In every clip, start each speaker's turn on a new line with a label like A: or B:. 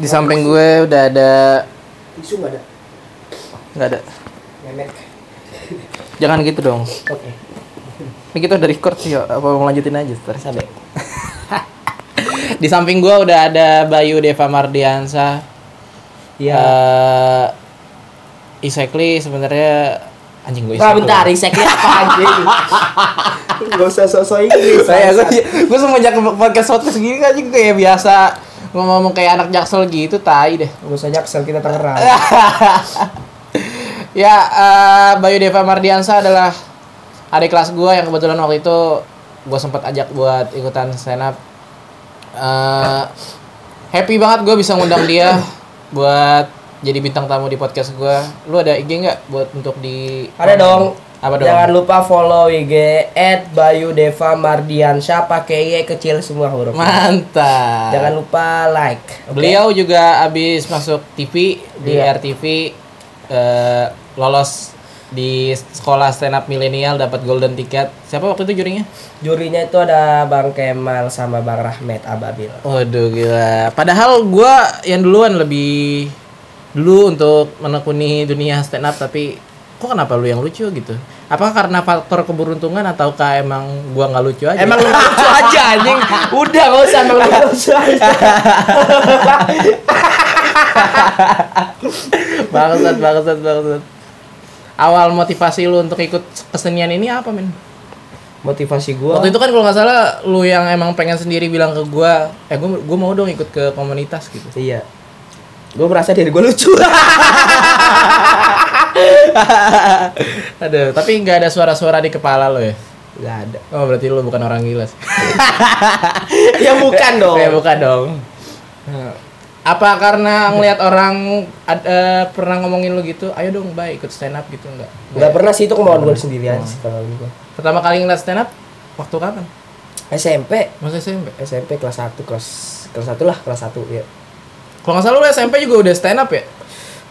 A: Di samping gue udah ada
B: Tisu nggak ada?
A: nggak ada.
B: Memek.
A: Jangan gitu dong.
B: Oke.
A: Ini kita udah record sih, ya. apa mau lanjutin aja ntar?
B: Sampai.
A: Di samping gue udah ada Bayu Deva Mardiansa.
B: Iya.
A: Eh, Isekli sebenarnya anjing
B: Eh,
A: gue.
C: Nah, bentar, riseknya apa?
B: Anjing. Gak usah sosok Inggris.
A: Saya gue,
B: bangsat.
A: gue semenjak podcast podcast gini kan juga kayak biasa ngomong kayak anak jaksel gitu tai deh.
B: Gak usah jaksel kita Tangerang.
A: ya, eh, Bayu Deva Mardiansa adalah adik kelas gue yang kebetulan waktu itu gue sempat ajak buat ikutan stand up. Eh, happy banget gue bisa ngundang dia buat jadi bintang tamu di podcast gue. Lu ada IG nggak buat untuk di?
B: Ada dong.
A: Apa dong?
B: Jangan lupa follow IG at Bayu Deva Mardiansyah pakai Y kecil semua huruf.
A: Mantap.
B: Jangan lupa like. oke?
A: Beliau juga abis masuk TV di
B: Iya.
A: RTV eh, lolos di sekolah stand up milenial dapat golden ticket. Siapa waktu itu jurinya?
B: Jurinya itu ada Bang Kemal sama Bang Rahmat Ababil.
A: Waduh gila. Padahal gua yang duluan lebih dulu untuk menekuni dunia stand up tapi kok kenapa lu yang lucu gitu? Apa karena faktor keberuntungan ataukah emang gua nggak lucu aja?
B: Emang lu lucu aja anjing. Udah gak usah emang lu lucu aja.
A: bangsat bangsat bangsat. Awal motivasi lu untuk ikut kesenian ini apa, Min?
B: Motivasi gua.
A: Waktu itu kan kalau nggak salah lu yang emang pengen sendiri bilang ke gua, eh gua gua mau dong ikut ke komunitas gitu.
B: Iya. Gue merasa diri gue lucu.
A: Aduh, tapi nggak ada suara-suara di kepala lo ya.
B: Gak ada.
A: Oh, berarti lu bukan orang gila sih.
B: Ya bukan dong.
A: Ya bukan dong. Nah, Apa karena ngelihat orang ad- eh, pernah ngomongin lu gitu, ayo dong baik ikut stand up gitu enggak?
B: Gak pernah sih itu kemauan
A: Hmm.
B: gue sendirian sih kalau gue.
A: Pertama kali ngeliat stand up waktu kapan?
B: SMP,
A: Masa SMP?
B: SMP kelas 1, kelas kelas 1 lah, kelas 1 ya.
A: Kalau nggak salah lu SMP juga udah stand up ya?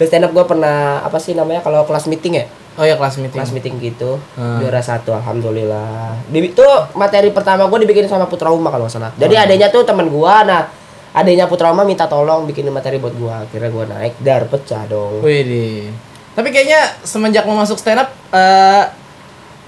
B: Dan stand up gue pernah apa sih namanya kalau kelas meeting ya?
A: Oh ya kelas meeting.
B: Kelas meeting gitu.
A: Hmm.
B: Juara satu alhamdulillah. Di- Itu materi pertama gue dibikin sama Putra Uma kalau nggak salah. Jadi
A: Hmm.
B: adanya tuh teman gua nah adanya Putra Uma minta tolong bikinin materi buat gua. Akhirnya gua naik dar pecah dong.
A: Widih. Tapi kayaknya semenjak lo masuk stand up eh,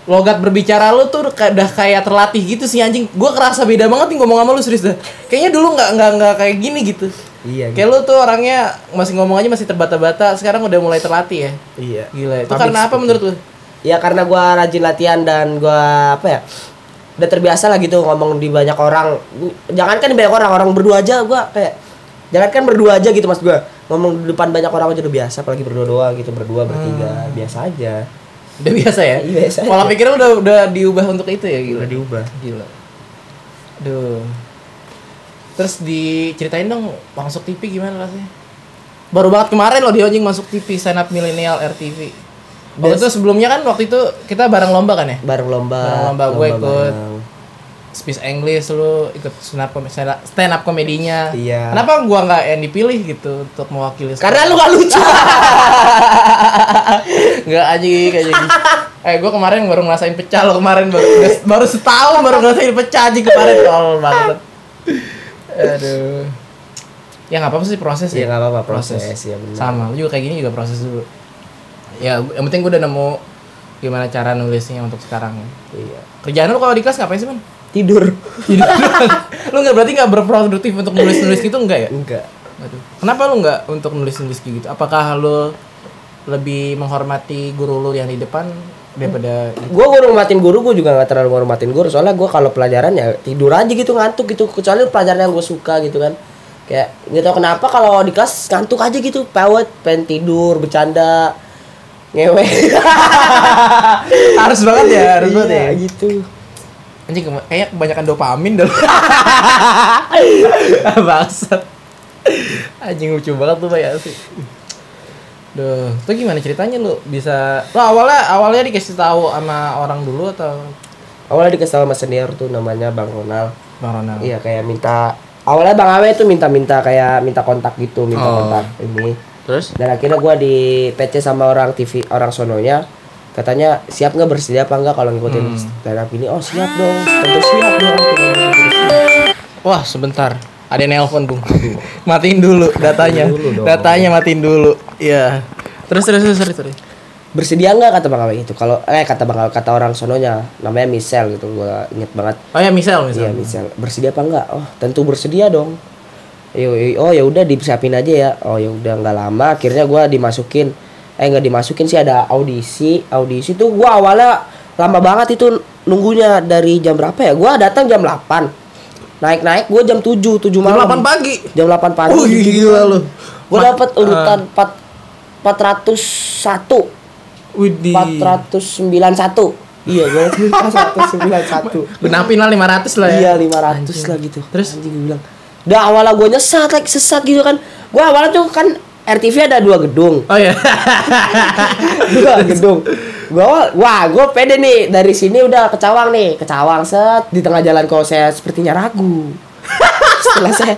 A: logat berbicara lu tuh ka- udah kayak terlatih gitu sih anjing. Gua kerasa beda banget nih ngomong sama lu serius dah. Kayaknya dulu nggak nggak nggak kayak gini gitu.
B: Iya.
A: Kayak lu tuh orangnya masih ngomong aja masih terbata-bata, sekarang udah mulai terlatih ya.
B: Iya.
A: Gila, itu
B: Public
A: karena apa menurut lu?
B: Ya karena gua rajin latihan dan gua apa ya? Udah terbiasa lah gitu ngomong di banyak orang. Jangankan di banyak orang, orang berdua aja gua kayak jangankan berdua aja gitu mas gua. Ngomong di depan banyak orang aja udah biasa apalagi berdua doang gitu, berdua bertiga biasa aja.
A: Udah biasa ya?
B: Iya, biasa
A: Pola pikirnya udah udah diubah untuk itu ya gila.
B: Udah diubah.
A: Gila. Aduh. Terus diceritain dong masuk TV gimana rasanya? Baru banget kemarin loh dia anjing masuk TV stand up milenial RTV. Waktu itu sebelumnya kan waktu itu kita bareng lomba kan ya?
B: Bareng lomba.
A: Bareng lomba, gue ikut.
B: bareng.
A: Speech English lu ikut stand up com- stand up- stand up komedinya.
B: Iya.
A: Kenapa gua nggak yang dipilih gitu untuk mewakili?
B: Karena lu gak lucu.
A: nggak anjing kayak gini. Eh gua kemarin baru ngerasain pecah lo kemarin baru udah- baru setahun baru ngerasain pecah anjing kemarin tol banget. Aduh. Ya nggak apa-apa sih proses
B: ya
A: ya.
B: enggak apa-apa proses, ya benar.
A: Sama, lu juga kayak gini juga proses dulu. Ya, yang penting gua udah nemu gimana cara nulisnya untuk sekarang.
B: Iya.
A: Kerjaan lu kalau di kelas ngapain sih, Man?
B: Tidur.
A: Tidur. lu nggak berarti nggak berproduktif untuk nulis-nulis gitu nggak ya?
B: Enggak.
A: Waduh. Kenapa lu nggak untuk nulis-nulis gitu? Apakah lu lebih menghormati guru lu yang di depan daripada gitu?
B: gue gue hormatin guru gue juga nggak terlalu hormatin guru soalnya gue kalau pelajaran ya tidur aja gitu ngantuk gitu kecuali pelajaran yang gue suka gitu kan kayak nggak tau kenapa kalau di kelas ngantuk aja gitu pawet pengen tidur bercanda ngewe
A: harus banget ya harus banget
B: Iya,
A: ya
B: gitu
A: anjing kema- kayaknya kebanyakan dopamin dah lu. bangsat anjing lucu banget tuh bayar sih Duh, tuh gimana ceritanya lu bisa lo awalnya awalnya dikasih tahu sama orang dulu atau
B: awalnya dikasih tahu sama senior tuh namanya bang Ronald
A: Bang Ronald?
B: iya kayak minta awalnya bang Awe tuh minta-minta kayak minta kontak gitu minta
A: Oh.
B: kontak ini
A: Terus?
B: dan akhirnya gue di PC sama orang TV orang sononya katanya siap nggak bersedia apa enggak kalau ngikutin stand up ini oh siap dong tentu siap dong
A: Wah, sebentar. Ada yang nelpon, Bung. matiin dulu datanya.
C: dulu dong.
A: datanya matiin dulu. Iya. Terus terus terus terus. terus.
B: bersedia nggak kata bang Awe gitu kalau eh kata bang Awe- kata orang sononya namanya Michelle gitu gua inget banget
A: Oh ya, misal misal.
B: iya Michelle bersedia apa enggak oh tentu bersedia dong Yo, yo- oh ya udah disiapin aja ya oh ya udah nggak lama akhirnya gua dimasukin eh nggak dimasukin sih ada audisi audisi tuh gua awalnya lama banget itu nunggunya dari jam berapa ya gua datang jam 8 naik naik gua jam 7 7
A: Jam 8
B: malam
A: pagi.
B: jam 8 pagi
A: Oh, gila lu.
B: gue
A: Ma-
B: dapat urutan empat 401
A: Widih.
B: 491 iya gue 491
A: Genapin lah 500 lah ya.
B: iya 500 lah gitu
A: Terus?
B: anjing gue bilang udah awalnya gue nyesat like sesat gitu kan gue awalnya tuh kan RTV ada dua gedung
A: Oh ya.
B: dua gedung gue wah gue pede nih dari sini udah ke Cawang nih ke Cawang set di tengah jalan kalau saya sepertinya ragu setelah saya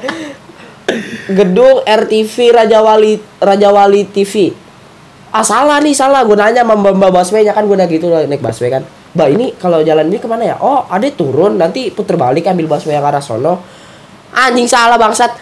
B: gedung RTV Raja Wali Raja Wali TV ah salah nih salah gue nanya sama mbak mbak busway kan gue udah gitu loh, naik busway kan mbak ini kalau jalan ini kemana ya oh ada turun nanti puter balik ambil busway yang arah sono anjing salah bangsat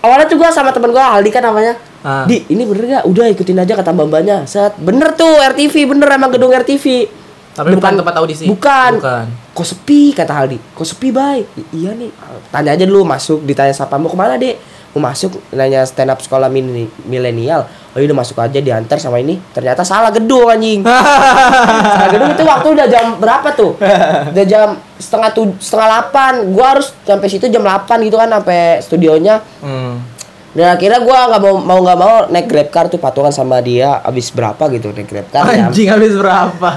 B: awalnya tuh gue sama temen gue Aldi kan namanya
A: Ah.
B: di ini bener gak udah ikutin aja kata mbak-mbaknya set bener tuh RTV bener emang gedung RTV
A: Tapi bukan tempat audisi.
B: bukan
A: Bukan.
B: kok sepi kata Aldi kok sepi bay I- iya nih tanya aja dulu masuk ditanya siapa mau kemana dek mau masuk nanya stand up sekolah mini- milenial oh iya udah masuk aja diantar sama ini ternyata salah gedung anjing salah gedung itu waktu udah jam berapa tuh udah jam setengah tuj setengah delapan gua harus sampai situ jam delapan gitu kan sampai studionya
A: Hmm.
B: dan akhirnya gua nggak mau mau nggak mau naik grab car tuh patungan sama dia abis berapa gitu naik grab car ya.
A: Anjing habis berapa?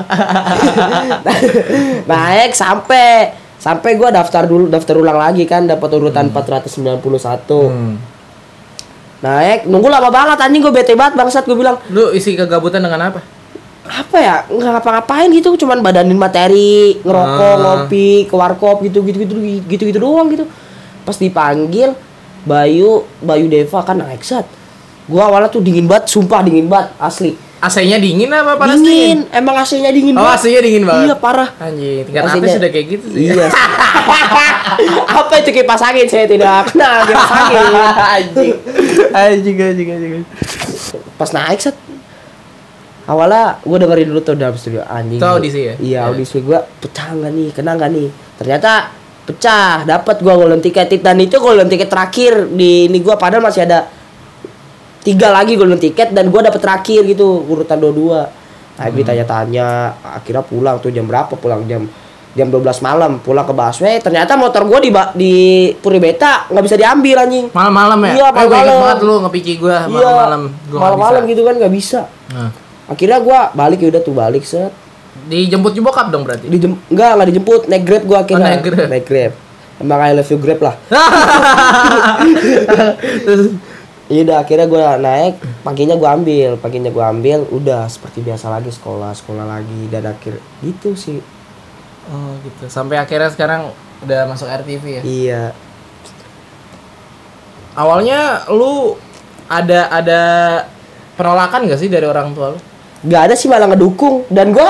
B: naik sampai sampai gua daftar dulu daftar ulang lagi kan dapat urutan 491
A: Hmm.
B: naik nunggu lama banget anjing gue bete banget bangsat gue bilang
A: Lu isi kegabutan dengan apa?
B: apa ya nggak ngapa-ngapain gitu cuman badanin materi ngerokok
A: Ah.
B: ngopi ke warkop gitu gitu gitu gitu gitu doang gitu pas dipanggil Bayu Bayu Deva kan naik sat gua awalnya tuh dingin banget sumpah dingin banget asli
A: AC-nya dingin apa panas
B: dingin emang aslinya dingin
A: Oh,
B: banget
A: AC-nya dingin banget.
B: iya parah
A: Anjing, tingkat
B: Aslinya-
A: atas sudah kayak gitu sih.
B: Iya. Apa itu kipas angin saya tidak kenal kipas angin. Anjing.
A: anjing, anjing, anjing.
B: Pas naik set awalnya gue dengerin dulu tuh dalam studio anjing.
A: Itu audisi ya?
B: Iya
A: Iya.
B: audisi gue pecah nggak nih kena nggak nih. Ternyata pecah dapat gue golden ticket dan itu golden ticket terakhir di ini gue padahal masih ada tiga lagi golden ticket dan gue dapet terakhir gitu urutan dua dua
A: Hmm.
B: tapi tanya-tanya akhirnya pulang tuh jam berapa pulang jam jam 12 malam pulang ke busway ternyata motor gue di ba- di Puri Beta nggak bisa diambil anjing
A: Malam-malam ya?
B: Iya,
A: Eh, gua ingat
B: malam-malam.
A: banget lu ngepiki gua
B: Iya,
A: malam-malam. Gua nggak
B: malam-malam
A: bisa.
B: gitu kan nggak bisa
A: Nah.
B: akhirnya gue balik ya udah tuh balik set
A: Dijemput bokap dong berarti.
B: di enggak nggak dijemput naik grab gue akhirnya
A: Oh, naik Grab.
B: naik grab emang I love you grab lah
A: Terus,
B: Iya udah akhirnya gue naik paginya gue ambil paginya gue ambil udah seperti biasa lagi sekolah sekolah lagi dan akhir gitu sih
A: oh gitu. Sampai akhirnya sekarang udah masuk RTV ya.
B: iya
A: Awalnya lu ada ada penolakan gak sih dari orang tua lu?
B: nggak ada sih malah ngedukung dan gue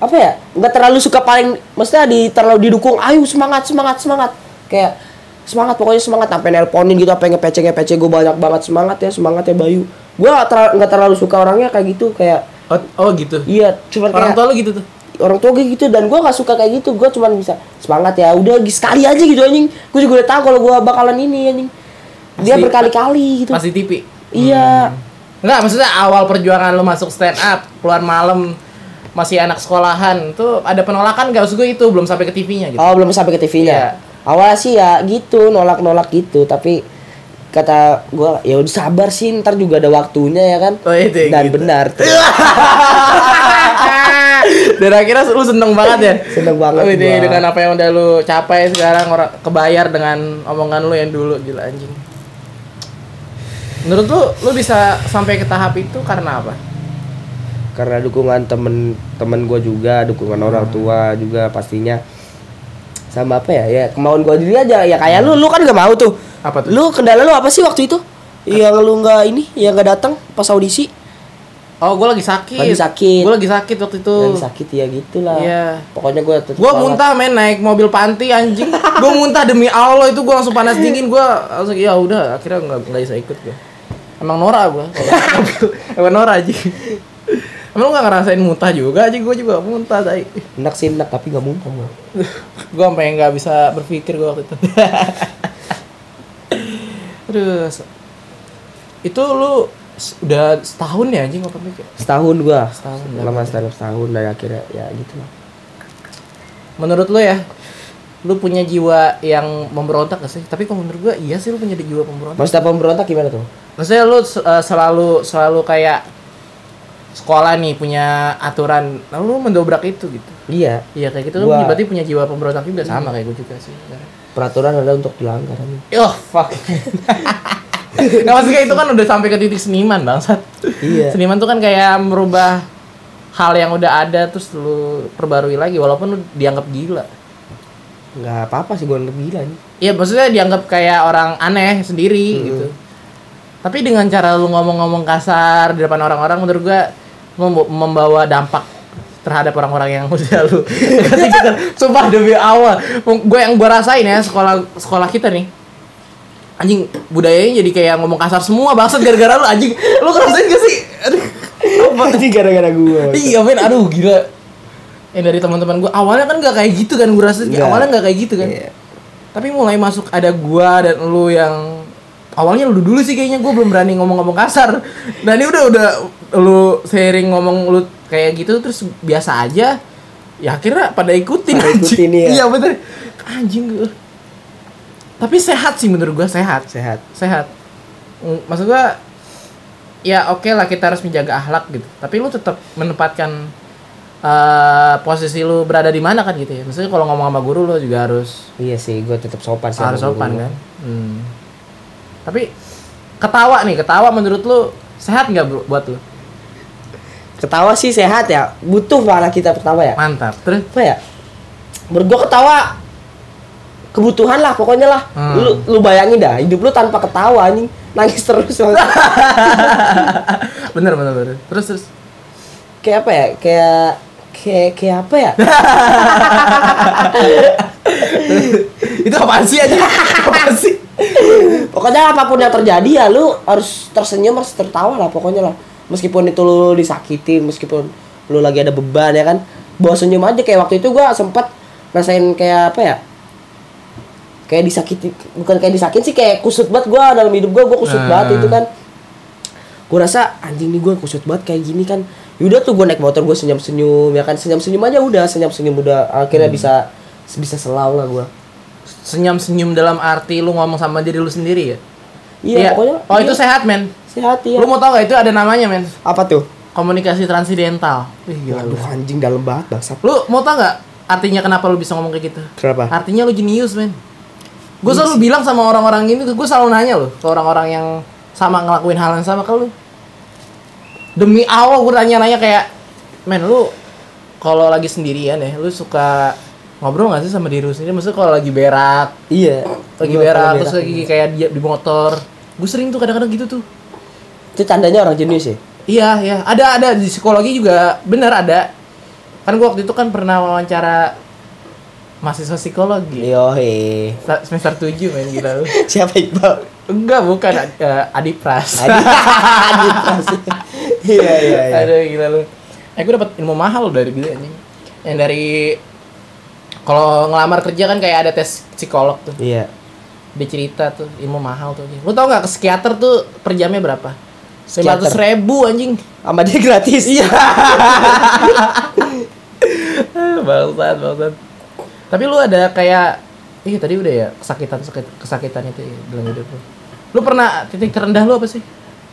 B: apa ya nggak terlalu suka paling maksudnya di terlalu didukung ayo semangat semangat semangat kayak semangat pokoknya semangat sampai nelponin gitu apa yang ngepece ngepece gue banyak banget semangat ya semangat ya Bayu gue nggak terlalu suka orangnya kayak gitu kayak
A: Oh, oh gitu.
B: iya cuman
A: Orang
B: kayak-
A: tua lu gitu tuh.
B: orang tua kayak gitu dan gue nggak suka kayak gitu gue cuman bisa semangat ya udah sekali aja gitu anjing gue juga udah tahu kalau gue bakalan ini anjing dia
A: Pasti- Hmm.
B: berkali-kali gitu
A: Pas di TV.
B: iya
A: Enggak, maksudnya awal perjuangan lu masuk stand up, keluar malam masih anak sekolahan tuh ada penolakan gak usah gue itu belum sampai ke TV-nya gitu.
B: oh belum sampai ke TV-nya
A: Iya.
B: awalnya sih ya gitu nolak-nolak gitu tapi kata gue ya udah sabar sih ntar juga ada waktunya ya kan
A: Oh, itu ya
B: dan
A: gitu.
B: benar tuh.
A: Dan akhirnya lu seneng banget ya.
B: Seneng banget
A: Wih, deh,
B: gua.
A: dengan apa yang udah lu capai sekarang orang kebayar dengan omongan lu yang dulu gila anjing. Menurut lu lu bisa sampai ke tahap itu karena apa?
B: karena dukungan temen-temen gue juga dukungan orang
A: Hmm.
B: tua juga pastinya sama apa ya ya kemauan gue diri aja ya kayak lu lu kan gak mau tuh
A: Apa tuh?
B: lu kendala lu apa sih waktu itu yang lu nggak ini yang nggak datang pas audisi
A: Oh, gue lagi sakit.
B: Lagi sakit.
A: Gue lagi sakit waktu itu.
B: Dan sakit ya gitulah.
A: Iya.
B: Pokoknya gue tetep
A: Gue
B: semangat.
A: muntah men naik mobil panti anjing. gue muntah demi Allah itu gue langsung panas dingin. Gue langsung ya udah akhirnya nggak nggak bisa ikut gue. Emang Nora gue. Emang Nora aja. Emang lu gak ngerasain muntah juga aja gue juga muntah tai.
B: Enak sih enak tapi nggak muntah gua.
A: gue sampai nggak bisa berpikir gue waktu itu. Terus itu lu s- udah setahun ya anjing open mic. ya?
B: Setahun gue.
A: Setahun,
B: Lama stand up setahun dari akhirnya ya gitu lah.
A: Menurut lu ya, lu punya jiwa yang memberontak gak sih? Tapi kalau menurut gua iya sih lu punya jiwa pemberontak.
B: Maksudnya pemberontak gimana tuh?
A: Maksudnya lu se- eh, selalu selalu kayak sekolah nih punya aturan, lalu lu mendobrak itu gitu.
B: Iya,
A: Iya kayak gitu, lu
B: Gua-
A: berarti punya jiwa pemberontak juga sama kayak gue juga sih.
B: peraturan ada untuk dilanggar. anjing.
A: Oh fuck. nah maksudnya itu kan udah sampai ke titik seniman bangsat.
B: Iya.
A: Seniman tuh kan kayak merubah hal yang udah ada terus lu perbarui lagi walaupun lu dianggap gila.
B: Nggak apa-apa sih gue anggap gila nih.
A: Iya maksudnya dianggap kayak orang aneh sendiri gitu. Tapi dengan cara lu ngomong-ngomong kasar di depan orang-orang menurut gua mem- membawa dampak terhadap orang-orang yang udah lu kasih kasar. Sumpah demi awal, gue yang gue rasain ya sekolah sekolah kita nih. Anjing budayanya jadi kayak ngomong kasar semua bangsat gara-gara lu anjing. Lu ngerasain gak sih? Aduh.
B: Apa sih gara-gara gue?
A: Iya men, aduh gila. Yang dari teman-teman gue awalnya kan nggak kayak gitu kan gue rasa
B: Nggak.
A: awalnya nggak kayak gitu kan.
B: Iya.
A: Tapi mulai masuk ada gua dan lu yang awalnya lu dulu sih kayaknya gue belum berani ngomong-ngomong kasar. Dan ini udah udah lu sering ngomong lu kayak gitu terus biasa aja. Ya akhirnya pada ikutin.
B: Pada
A: anjing.
B: ikutin, iya.
A: Iya bener. Anjing gue. Tapi sehat sih menurut gua sehat
B: Sehat.
A: sehat Mm, maksud gua ya oke lah kita harus menjaga akhlak gitu tapi lu tetap menempatkan eh, posisi lu berada di mana kan gitu ya maksudnya kalau ngomong sama guru lu juga harus
B: Iya sih, gue tetap sopan sih.
A: harus
B: sama
A: sopan
B: guru.
A: kan Hmm. tapi ketawa nih ketawa menurut lu sehat nggak bu- buat lu
B: Ketawa sih sehat ya. Butuh lah anak kita pertama ya.
A: mantap terus
B: Apa ya? Menurut gua ketawa kebutuhan lah pokoknya lah.
A: Hmm.
B: Lu lu bayangin dah, hidup lu tanpa ketawa anjing, nangis terus.
A: bener bener bener terus terus
B: kayak apa ya? Kayak kayak kayak apa ya?
A: itu apaan sih aja apaan sih
B: pokoknya apapun yang terjadi ya lu harus tersenyum harus tertawa lah pokoknya lah meskipun itu lu disakitin meskipun lu lagi ada beban ya kan bawa senyum aja kayak waktu itu gua sempet rasain kayak apa ya kayak disakiti bukan kayak disakitin sih kayak kusut banget gua dalam hidup gua gua kusut
A: Hmm.
B: banget itu kan gue rasa anjing nih gue kusut banget kayak gini kan yaudah tuh gue naik motor gue senyum senyum ya kan senyum senyum aja udah senyum senyum udah akhirnya
A: Hmm.
B: bisa bisa selau lah gue
A: senyum senyum dalam arti lu ngomong sama diri lu sendiri ya
B: iya pokoknya
A: oh itu sehat men
B: sehat ya
A: Lu mau tau gak itu ada namanya men?
B: apa tuh
A: Komunikasi transidental. Wih, gila.
B: Aduh anjing dalam banget bangsat.
A: Lu mau tau gak artinya kenapa lu bisa ngomong kayak gitu?
B: Kenapa?
A: Artinya lu jenius men. Gue selalu bilang sama orang-orang gini, gue selalu nanya loh ke orang-orang yang sama ngelakuin hal yang sama ke lu. Demi Allah gue tanya-nanya kayak, men lu kalau lagi sendirian ya, lu suka ngobrol gak sih sama diri lu sendiri? Maksudnya kalau lagi berak,
B: Iya.
A: lagi
B: Gua
A: berak,
B: kalau
A: terus lagi kayak di, di motor. Gue sering tuh kadang-kadang gitu tuh.
B: Itu tandanya orang jenius ya?
A: Iya, iya. Ada ada di psikologi juga benar ada. Kan gua waktu itu kan pernah wawancara mahasiswa
B: Iya.
A: psikologi.
B: Yohe.
A: Sa- Semester 7 main gila lu.
B: Siapa Iqbal?
A: Enggak, bukan eh, Adi Pras.
B: Adi. Adi Pras. Iya iya iya.
A: Aduh gila lu. Eh gue dapat ilmu mahal loh dari gitu anjing. Yang dari kalau ngelamar kerja kan kayak ada tes psikolog tuh.
B: Iya.
A: Dia cerita tuh ilmu mahal tuh. Lu tau nggak ke psikiater tuh per jamnya berapa?
B: Psikiater.
A: 500 ribu anjing.
B: Sama dia gratis. Iya.
A: bangsat bangsat tapi lu ada kayak ih tadi udah ya kesakitan sakit- kesakitan itu ya, dalam hidup lu lu pernah titik terendah lu apa sih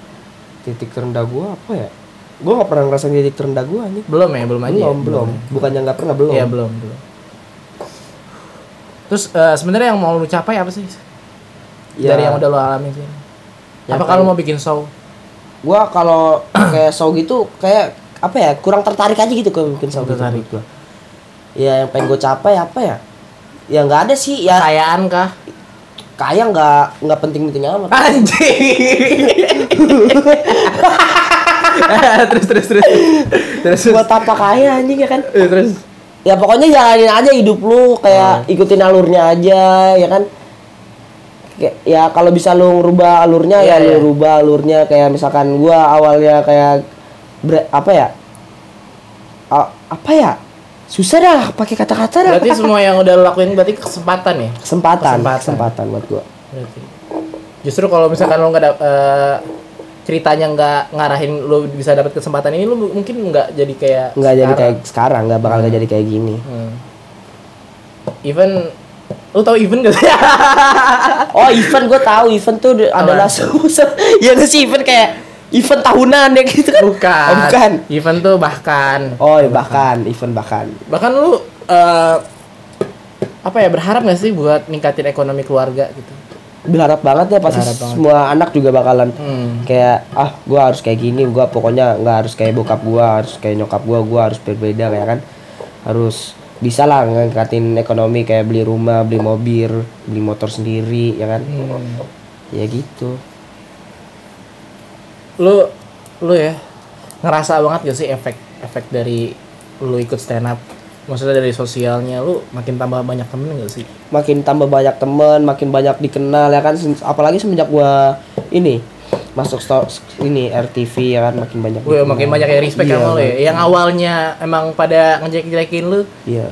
B: Titik terendah gua apa ya? Gua gak pernah ngerasain titik terendah gua anjing.
A: belum ya belum aja ya?
B: Belum, belum. Bukannya nggak pernah belum.
A: ya belum belum terus eh, sebenarnya yang mau lu capai apa sih
B: Ya,
A: dari yang udah lu alami sih
B: Ya,
A: apa kalau mau bikin show
B: Gua kalau kayak show gitu kayak apa ya? Kurang tertarik aja gitu kalau bikin show gitu.
A: Tertarik.
B: menurut gua. Ya yang pengen gua capai apa ya? Ya nggak ada sih ya
A: kayaan kah
B: kaya nggak nggak penting penting amat
A: anjing terus terus terus terus terus
B: buat apa kaya anjing ya kan
A: Eh, terus
B: ya pokoknya jalanin aja hidup lu kayak
A: Hmm.
B: ikutin alurnya aja ya kan Kayak- ya kalau bisa lu rubah alurnya
A: Iya,
B: ya lu
A: iya.
B: rubah alurnya kayak misalkan gua awalnya kayak bre- apa ya A- apa ya susah dah pakai kata-kata dah
A: berarti semua yang udah lo lakuin berarti kesempatan ya
B: kesempatan
A: Kesempatan.
B: kesempatan buat gua
A: berarti justru kalau misalkan lo nggak ada eh, ceritanya nggak ngarahin lo bisa dapat kesempatan ini lo mu- mungkin nggak jadi kayak
B: nggak jadi
A: sekarang.
B: kayak sekarang nggak bakal nggak jadi kayak gini
A: Hmm. even lo tau even gak sih
B: oh event gua tahu event tuh d- adalah se- ya nggak sih event kayak event tahunan ya gitu kan
A: bukan
B: Oh, bukan
A: even tuh bahkan
B: oh ya bahkan event bahkan
A: bahkan lu eh, apa ya berharap gak sih buat ningkatin ekonomi keluarga gitu
B: berharap banget ya pasti
A: Berharap banget.
B: semua anak juga bakalan
A: Hmm.
B: kayak ah gua harus kayak gini gua pokoknya nggak harus kayak bokap gua harus kayak nyokap gua gua harus berbeda kayak kan harus bisa lah ngangkatin ekonomi kayak beli rumah beli mobil beli motor sendiri ya kan ya gitu
A: lu lu ya ngerasa banget gak sih efek efek dari lu ikut stand up maksudnya dari sosialnya lu makin tambah banyak temen gak sih
B: makin tambah banyak temen makin banyak dikenal ya kan Sen- apalagi semenjak gua ini masuk sto- ini RTV ya kan makin banyak
A: Gue
B: dikenal.
A: makin banyak yang respect
B: Iya,
A: sama lu ya. Yang awalnya emang pada ngejek-jekin lu
B: iya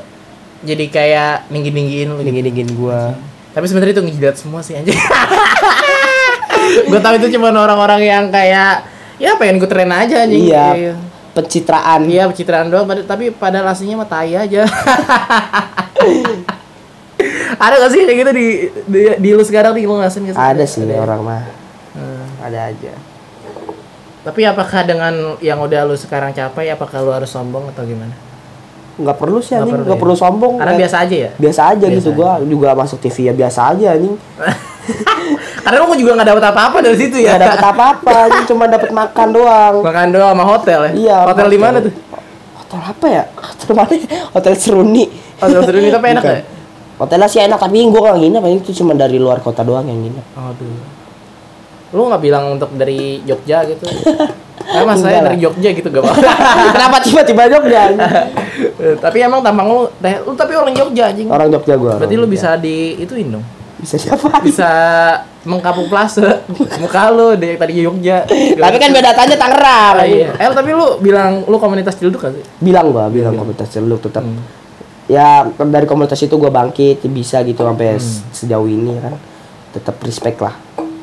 A: jadi kayak ninggin-ninggiin lu. gitu.
B: dingin dingin gua
A: Tapi sebenarnya itu ngejilat semua sih anjing. gue tahu itu cuma orang-orang yang kayak ya pengen gue tren aja anjing.
B: iya pencitraan
A: Iya, pencitraan doang, pad- tapi pada aslinya mah tai aja. ada gak sih kayak gitu di di, di lu sekarang nih lu ngerasain gak sih?
B: ada sih orang mah
A: ya? Hmm.
B: ada aja
A: Tapi apakah dengan yang udah lu sekarang capai apakah lu harus sombong atau gimana?
B: nggak perlu sih
A: Nggak
B: anjing
A: perlu
B: nggak
A: ya?
B: perlu sombong
A: Karena
B: Kayak-
A: biasa aja ya.
B: biasa aja
A: Biasa
B: gitu gua juga masuk TV ya biasa aja anjing
A: Karena gua juga nggak dapat apa-apa dari situ ya.
B: nggak dapet apa apa anjing cuma dapet makan doang
A: Makan doang sama hotel ya.
B: Iya,
A: Hotel di
B: hotel.
A: mana tuh?
B: hotel apa ya hotel mana hotel Seruni
A: Hotel Seruni tapi enak
B: Bukan.
A: nggak?
B: hotelnya sih enak tapi gua nggak nginep anjing itu cuma dari luar kota doang yang nginep
A: Aduh. Lu nggak bilang untuk dari Jogja gitu? Karena mas saya
B: Enggak
A: dari
B: lah.
A: Jogja gitu gak apa
B: kenapa tiba-tiba Jogja anjing?
A: tapi emang tampang lu, teh- lu tapi orang Jogja anjing.
B: orang Jogja gua orang
A: Berarti lu
B: Jogja.
A: bisa di ituin dong.
B: bisa siapa
A: Bisa mengkapuplase muka lu dari tadi Jogja.
B: tapi kan beda tanya Tangerang
A: Ah, iya. Eh tapi lu bilang lu komunitas jilduk gak sih?
B: bilang gua bilang
A: Iya.
B: komunitas celuk tetap
A: Hmm.
B: ya dari komunitas itu gua bangkit bisa gitu sampai
A: Hmm.
B: se- sejauh ini kan tetap respect lah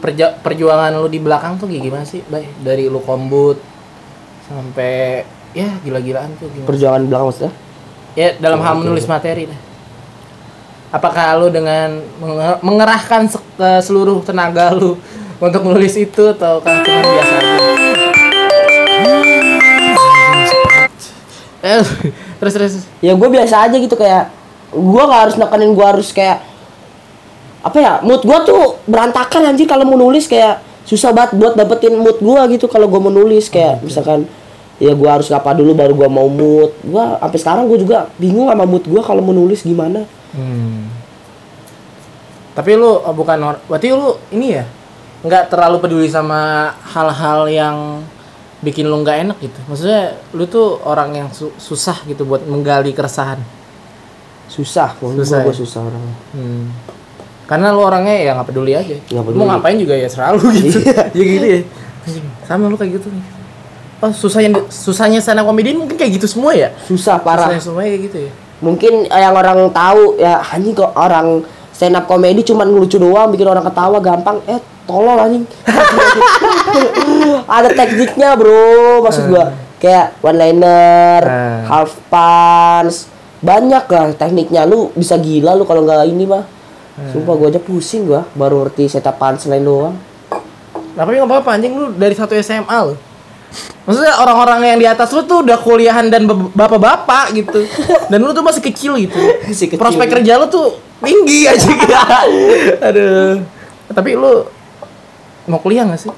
A: Perja- perjuangan lu di belakang tuh kayak gimana sih? Bay? Dari lu kombut sampai ya gila-gilaan tuh gimana?
B: perjuangan di belakang maksudnya
A: Ya dalam hal menulis materi dah. Apakah lu dengan menge- mengerahkan se- ke seluruh tenaga lu untuk menulis itu atau kan cuma biasa? Eh, terus terus.
B: ya gue biasa aja gitu kayak gua nggak harus nekenin gua harus kayak apa ya mood gua tuh berantakan anjir kalau mau nulis kayak susah banget buat dapetin mood gua gitu kalau gua mau nulis kayak misalkan ya gua harus ngapa dulu baru gua mau mood gua sampai sekarang gua juga bingung sama mood gua kalau mau nulis gimana
A: Hmm. Tapi lu eh, bukan or- berarti lu ini ya nggak terlalu peduli sama hal-hal yang bikin lu nggak enak gitu. Maksudnya lu tuh orang yang su- susah gitu buat menggali keresahan.
B: susah kalau
A: Susah
B: gua, gua
A: ya?
B: susah orangnya
A: Hmm. Karena lu orangnya ya nggak peduli aja.
B: Nggak peduli. Iya.
A: Mau ngapain juga ya selalu gitu. ya gitu ya. Anjing, Sama lu kayak gitu nih. Oh, susahnya susahnya sana komedian mungkin kayak gitu semua ya.
B: susah parah
A: Susahnya semuanya kayak gitu ya.
B: mungkin yang orang tahu ya anjing kok orang stand up komedi cuman ngelucu doang bikin orang ketawa gampang eh tolol anjing ada tekniknya bro maksud gua kayak one liner
A: Hmm.
B: half punch banyak lah tekniknya lu bisa gila lu kalau nggak ini mah sumpah gua aja pusing gua baru ngerti setup punchline doang
A: Nah, tapi nggak apa-apa anjing lu dari satu SMA lu. Maksudnya orang-orang yang di atas lu tuh udah kuliahan dan be- bapak-bapak gitu. Dan lu tuh masih kecil gitu.
B: Masih kecil.
A: Prospek kerja lu tuh tinggi aja gitu. Aduh. Tapi lu mau kuliah gak sih?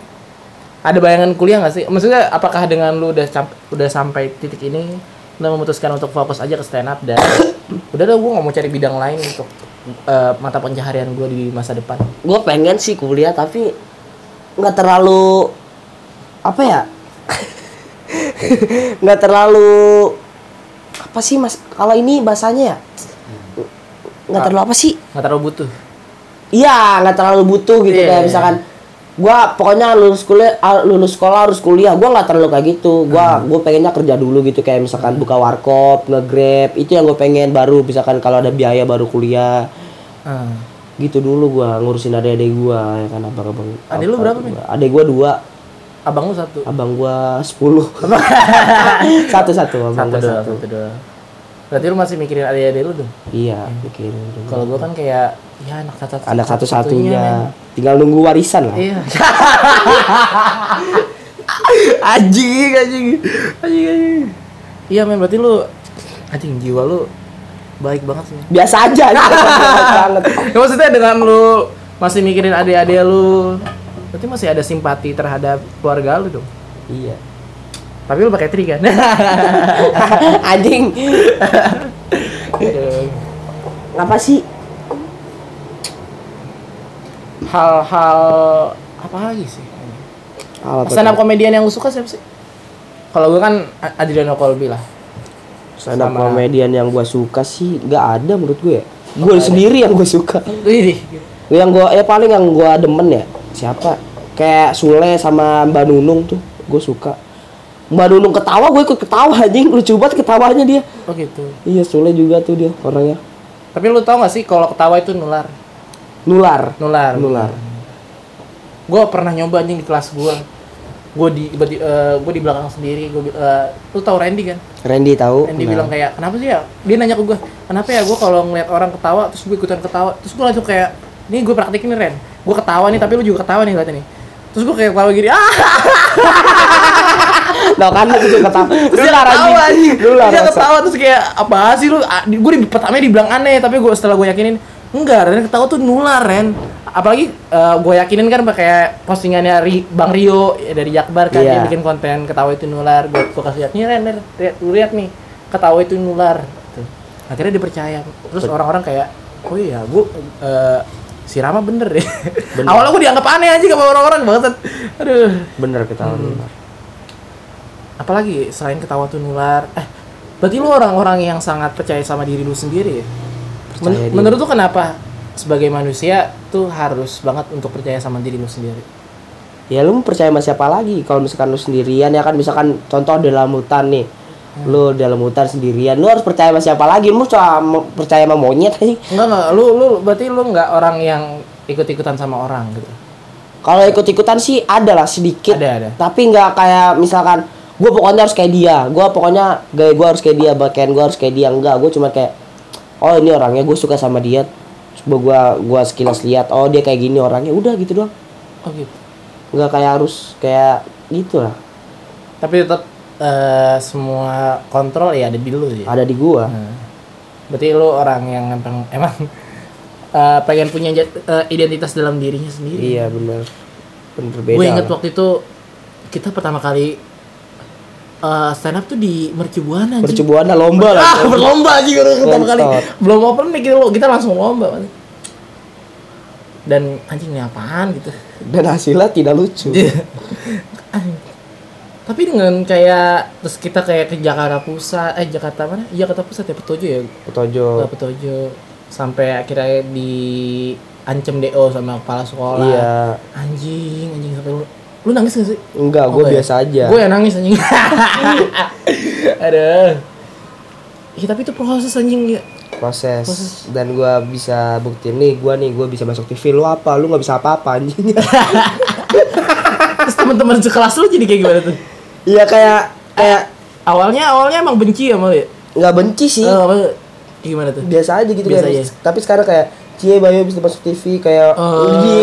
A: Ada bayangan kuliah gak sih? Maksudnya apakah dengan lu udah camp- udah sampai titik ini lu memutuskan untuk fokus aja ke stand up dan udah dah gua nggak mau cari bidang lain untuk eh, mata pencaharian gua di masa depan.
B: gue pengen sih kuliah tapi nggak terlalu apa ya nggak terlalu apa sih mas kalau ini bahasanya ya nggak terlalu apa sih
A: nggak terlalu butuh
B: iya nggak terlalu butuh gitu
A: Iya,
B: kayak
A: iya,
B: misalkan gua pokoknya lulus kuliah ah, lulus sekolah harus kuliah gua nggak terlalu kayak gitu gua
A: Hmm.
B: gua pengennya kerja dulu gitu kayak misalkan buka warkop nge-grab itu yang gue pengen baru misalkan kalau ada biaya baru kuliah
A: Ah.
B: gitu dulu gua ngurusin adik-adik gua ya kan abang abang
A: Adik lu berapa,
B: adik gua dua
A: abang lu satu
B: abang gua sepuluh satu satu abang
A: satu
B: gua
A: doang
B: satu
A: satu doang berarti lu masih mikirin adik-adik lu dong
B: iya mikirin dulu.
A: kalau gua kan kayak ya anak satu
B: anak satu
A: satu-satunya,
B: satunya tinggal nunggu warisan lah
A: men. iya
B: anjing anjing
A: Anjing, anjing. Iya men berarti lu anjing jiwa lu baik banget sih.
B: biasa aja anjing. Biasa banget
A: Ya, maksudnya dengan lu masih mikirin adik-adik lu berarti masih ada simpati terhadap keluarga lu dong.
B: iya
A: Tapi lu pakai tri kan.
B: anjing
A: Aduh.
B: apa sih
A: Hal-hal apa lagi sih?
B: Apa tuh?
A: Stand up komedian yang lu suka siapa sih? Kalau gue kan A- Adriano Colby lah.
B: stand up
A: sama-
B: komedian yang gua suka sih nggak ada menurut gue ya gue sendiri yang gue suka
A: Wih,
B: yang gua ya paling yang gua demen ya siapa kayak Sule sama Mbak Nunung tuh gue suka Mbak Nunung ketawa gue ikut ketawa anjing lucu banget ketawanya dia
A: oh gitu.
B: iya Sule juga tuh dia orangnya
A: Tapi lu tau gak sih kalau ketawa itu nular?
B: nular
A: Nular.
B: nular
A: gue pernah nyoba anjing di kelas gue gue di gue di belakang sendiri gue lu tau Randy kan
B: Randy tahu
A: Randy
B: Nah.
A: bilang kayak kenapa sih ya dia nanya ke gue kenapa ya gue kalau ngeliat orang ketawa terus gue ikutan ketawa terus gue langsung kayak ini gue praktekin nih Ren gue ketawa nih tapi lu juga ketawa nih ngeliatnya nih terus gue kayak ketawa gini ah
B: Nah kan lu juga ketawa. Terus dia larang
A: ketawa anjing
B: Lu
A: Terus dia
B: larang.
A: ketawa terus kayak apa sih lu gue di pertamanya dibilang aneh tapi gue setelah gue yakinin enggak Ren ketawa tuh nular Ren apalagi gue yakinin kan pakai postingannya Ri- Bang Rio ya, dari Jakbar kan dia
B: Iya.
A: bikin konten ketawa itu nular gue gue kasih lihat nih Ren Ren, lihat lu lihat nih ketawa itu nular Gitu. akhirnya dipercaya terus orang-orang kayak oh iya gue si Rama bener deh awalnya gue dianggap aneh aja sama orang-orang banget aduh
B: Bener ketawa nular.
A: apalagi selain ketawa tuh nular eh berarti lu orang-orang yang sangat percaya sama diri lu sendiri ya? Men-
B: Percaya diri.
A: menurut lu kenapa sebagai manusia tuh harus banget untuk percaya sama diri lu sendiri
B: Ya lu mau percaya sama siapa lagi kalau misalkan lu sendirian ya kan misalkan contoh dalam hutan nih. Lu dalam hutan sendirian, lu harus percaya sama siapa lagi? Lu cuma percaya sama monyet aja.
A: enggak enggak lu lu berarti lu enggak orang yang ikut-ikutan sama orang gitu
B: Kalau ikut-ikutan sih ada lah sedikit.
A: Ada, ada.
B: Tapi nggak kayak misalkan gue pokoknya harus kayak dia, gue pokoknya gaya gue harus kayak dia, bagian gue harus kayak dia enggak, gue cuma kayak oh ini orangnya gue suka sama dia, coba gue gua sekilas lihat oh dia kayak gini orangnya, udah gitu doang,
A: oh gitu
B: nggak kayak harus kayak gitu lah,
A: tapi tetap eh, semua kontrol ya ada di lu ya
B: ada di gua.
A: Nah, berarti lu orang yang emang emang eh, pengen punya jat- eh, identitas dalam dirinya sendiri
B: Iya bener, bener beda.
A: Gue inget
B: lah.
A: waktu itu kita pertama kali eh, stand up tuh di Mercubuana anjing.
B: Percubuana lomba
A: Ah,
B: lah.
A: berlomba aja gitu pertama
B: Ngentot.
A: kali. Belum open mic gitu loh, kita langsung lomba. anjing. Dan anjing ini apaan gitu.
B: Dan hasilnya tidak lucu.
A: Iya. Anjing. Tapi dengan kayak terus kita kayak ke Jakarta Pusat, eh Jakarta mana? Iya, Jakarta Pusat ya Petojo ya.
B: Tojo.
A: Ke Petojo sampai akhirnya di ancam DO sama kepala sekolah.
B: Iya,
A: Anjing, anjing sampai lu, lu nangis gak sih?
B: enggak, gue
A: Oke.
B: biasa aja.
A: Gue yang nangis anjing. Aduh. Ya, tapi itu proses anjing ya.
B: proses,
A: Proses.
B: dan gua bisa buktiin nih gua nih gua bisa masuk TV lu apa lu nggak bisa apa-apa anjing
A: Terus teman-teman sekelas lu jadi kayak gimana tuh?
B: iya kayak kayak
A: Awalnya awalnya emang benci sama lu ya?
B: nggak benci sih
A: Eh, apa? Gimana tuh?
B: biasa aja gitu
A: Biasa
B: kayak
A: aja.
B: tapi sekarang kayak cie bayu bisa masuk TV kayak
A: Eh.
B: di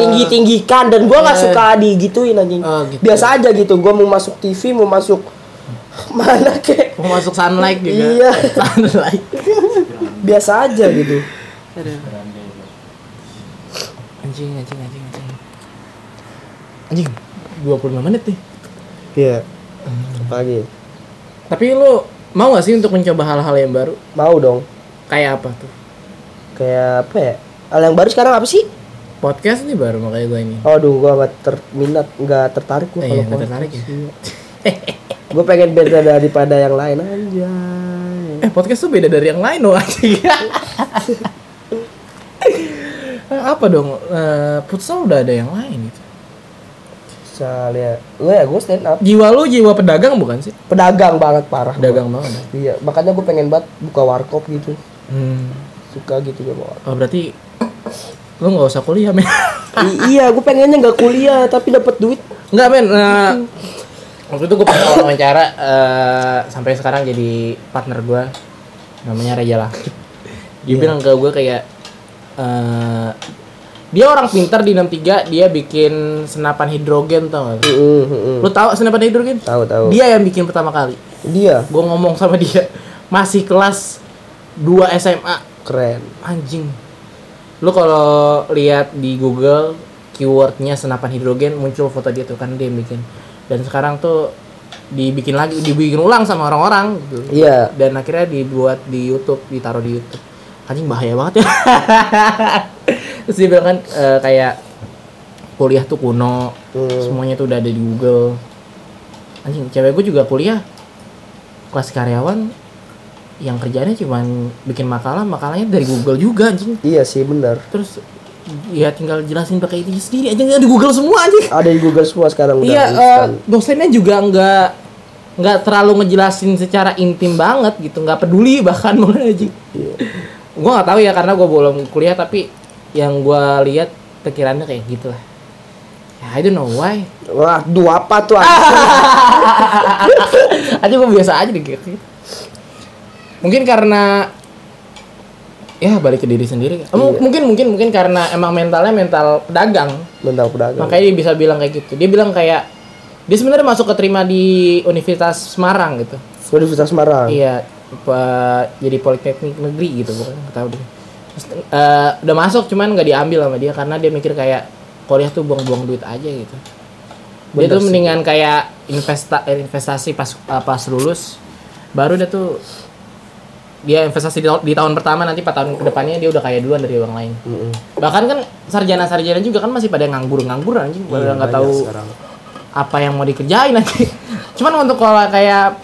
B: tinggi tinggikan dan gua nggak
A: Eh.
B: suka digituin anjing
A: Oh, gitu.
B: biasa aja gitu gua mau masuk TV mau masuk mana kek
A: Mau masuk sunlight juga.
B: Iya.
A: sunlight.
B: biasa aja gitu
A: Aduh. Anjing, anjing, anjing, anjing. Anjing, 25 menit nih.
B: iya pagi
A: Tapi lu mau gak sih untuk mencoba hal-hal yang baru?
B: mau dong
A: Kayak apa tuh?
B: kayak apa ya hal yang baru sekarang apa sih
A: Podcast nih baru makanya gue ini.
B: Aduh, gua nggak terminat, nggak tertarik gua
A: Eh,
B: kalau
A: iya, nggak
B: konten.
A: tertarik ya?
B: Iya. gue pengen beda daripada yang lain anjay
A: Eh podcast tuh beda dari yang lain loh anjing. Eh, Apa dong? Eh, futsal udah ada yang lain gitu.
B: soalnya gue ya gue stand up
A: Jiwa lu jiwa pedagang bukan sih?
B: pedagang banget parah
A: Pedagang banget.
B: iya makanya gue pengen banget buka warkop gitu
A: Hmm.
B: suka gitu gue bawa
A: Oh, berarti lu nggak usah kuliah men.
B: I- iya gue pengennya nggak kuliah tapi dapat duit
A: Enggak men. eh, waktu itu gue pernah wawancara eh, sampai sekarang jadi partner gue namanya Reza lah. Dia bilang ke gue kayak eh, dia orang pintar di 63 dia bikin senapan hidrogen tau gak?
B: Mm, mm, mm.
A: Lu tahu senapan hidrogen?
B: tahu tahu
A: Dia yang bikin pertama kali.
B: dia
A: Gue ngomong sama dia masih kelas 2 SMA.
B: keren
A: Anjing. Lu kalau lihat di Google keywordnya senapan hidrogen muncul foto dia tuh kan dia yang bikin. Dan sekarang tuh dibikin lagi, dibikin ulang sama orang-orang gitu.
B: iya
A: Dan akhirnya dibuat di YouTube, ditaruh di YouTube. Anjing bahaya banget ya. Terus dia bilang kan eh, kayak kuliah tuh kuno,
B: Hmm.
A: semuanya tuh udah ada di Google anjing cewek gue juga kuliah kelas karyawan yang kerjanya cuman bikin makalah makalahnya dari Google juga anjing
B: iya sih benar
A: terus ya tinggal jelasin pakai itu sendiri aja di Google semua anjing
B: ada di Google semua sekarang udah kan?
A: iya eh,
B: instan.
A: dosennya juga nggak nggak terlalu ngejelasin secara intim banget gitu nggak peduli bahkan mulai anjing
B: Iya.
A: gue nggak tahu ya karena gue belum kuliah tapi yang gue lihat pikirannya kayak gitulah Ya, I don't know why
B: wah dua apa tuh anjing?
A: Ah. aja gue biasa aja deh gitu. mungkin karena ya balik ke diri sendiri Eh, mu- mungkin mungkin mungkin karena emang mentalnya mental pedagang
B: mental pedagang
A: makanya dia bisa bilang kayak gitu dia bilang kayak dia sebenarnya masuk keterima di Universitas Semarang gitu
B: Universitas Semarang
A: iya apa, jadi politeknik negeri gitu bukan nggak tahu deh Terus, eh, udah masuk cuman nggak diambil sama dia karena dia mikir kayak kuliah tuh buang-buang duit aja gitu dia
B: Bener
A: tuh
B: sih.
A: mendingan kayak investa eh, investasi pas eh, pas lulus baru dia tuh dia investasi di, tahun- di tahun pertama nanti 4 tahun kedepannya dia udah kaya duluan dari orang lain
B: Mm-mm.
A: bahkan kan sarjana-sarjana juga kan masih pada nganggur-nganggur anjing pada
B: Iya,
A: nggak
B: banyak
A: tahu
B: sekarang.
A: apa yang mau dikerjain nanti. Cuman untuk pola kayak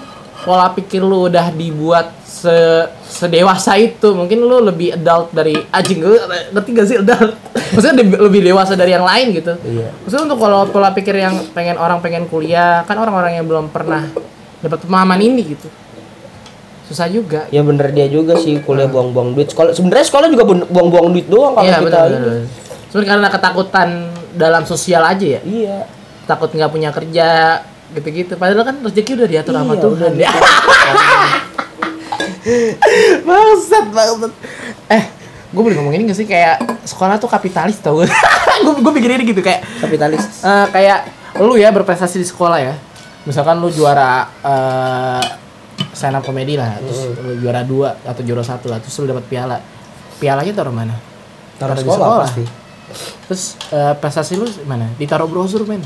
A: pola pikir lu udah dibuat se sedewasa itu, mungkin lu lebih adult dari anjing lu ngerti gak sih adult? Maksudnya de- lebih dewasa dari yang lain gitu.
B: Iya.
A: Maksudnya untuk kalau pola pikir yang pengen orang pengen kuliah, kan orang-orang yang belum pernah dapat pemahaman ini gitu. Susah juga.
B: Ya bener dia juga sih kuliah buang-buang duit. Sekolah sebenarnya sekolah juga bun- buang-buang duit doang kalau
A: Iya,
B: kita
A: benar.
B: ini.
A: benar. Sebenarnya karena ketakutan dalam sosial aja ya.
B: Iya.
A: Takut nggak punya kerja gitu-gitu. Padahal kan rezeki udah diatur sama
B: Iya,
A: Tuhan. ya.
B: udah
A: Bangsat, bangsat. Eh, gue boleh ngomong ini gak sih kayak sekolah tuh kapitalis tau gue. gue gue pikirin gitu kayak
B: Kapitalis.
A: eh, kayak lu ya berprestasi di sekolah ya. Misalkan lu juara eh stand up comedy lah, terus
B: Mm-hmm.
A: lu juara dua atau juara satu lah, terus lu dapat piala. Pialanya taruh mana?
B: Taruh
A: di
B: sekolah, pasti.
A: Terus eh, prestasi lu mana? Ditaruh brosur men.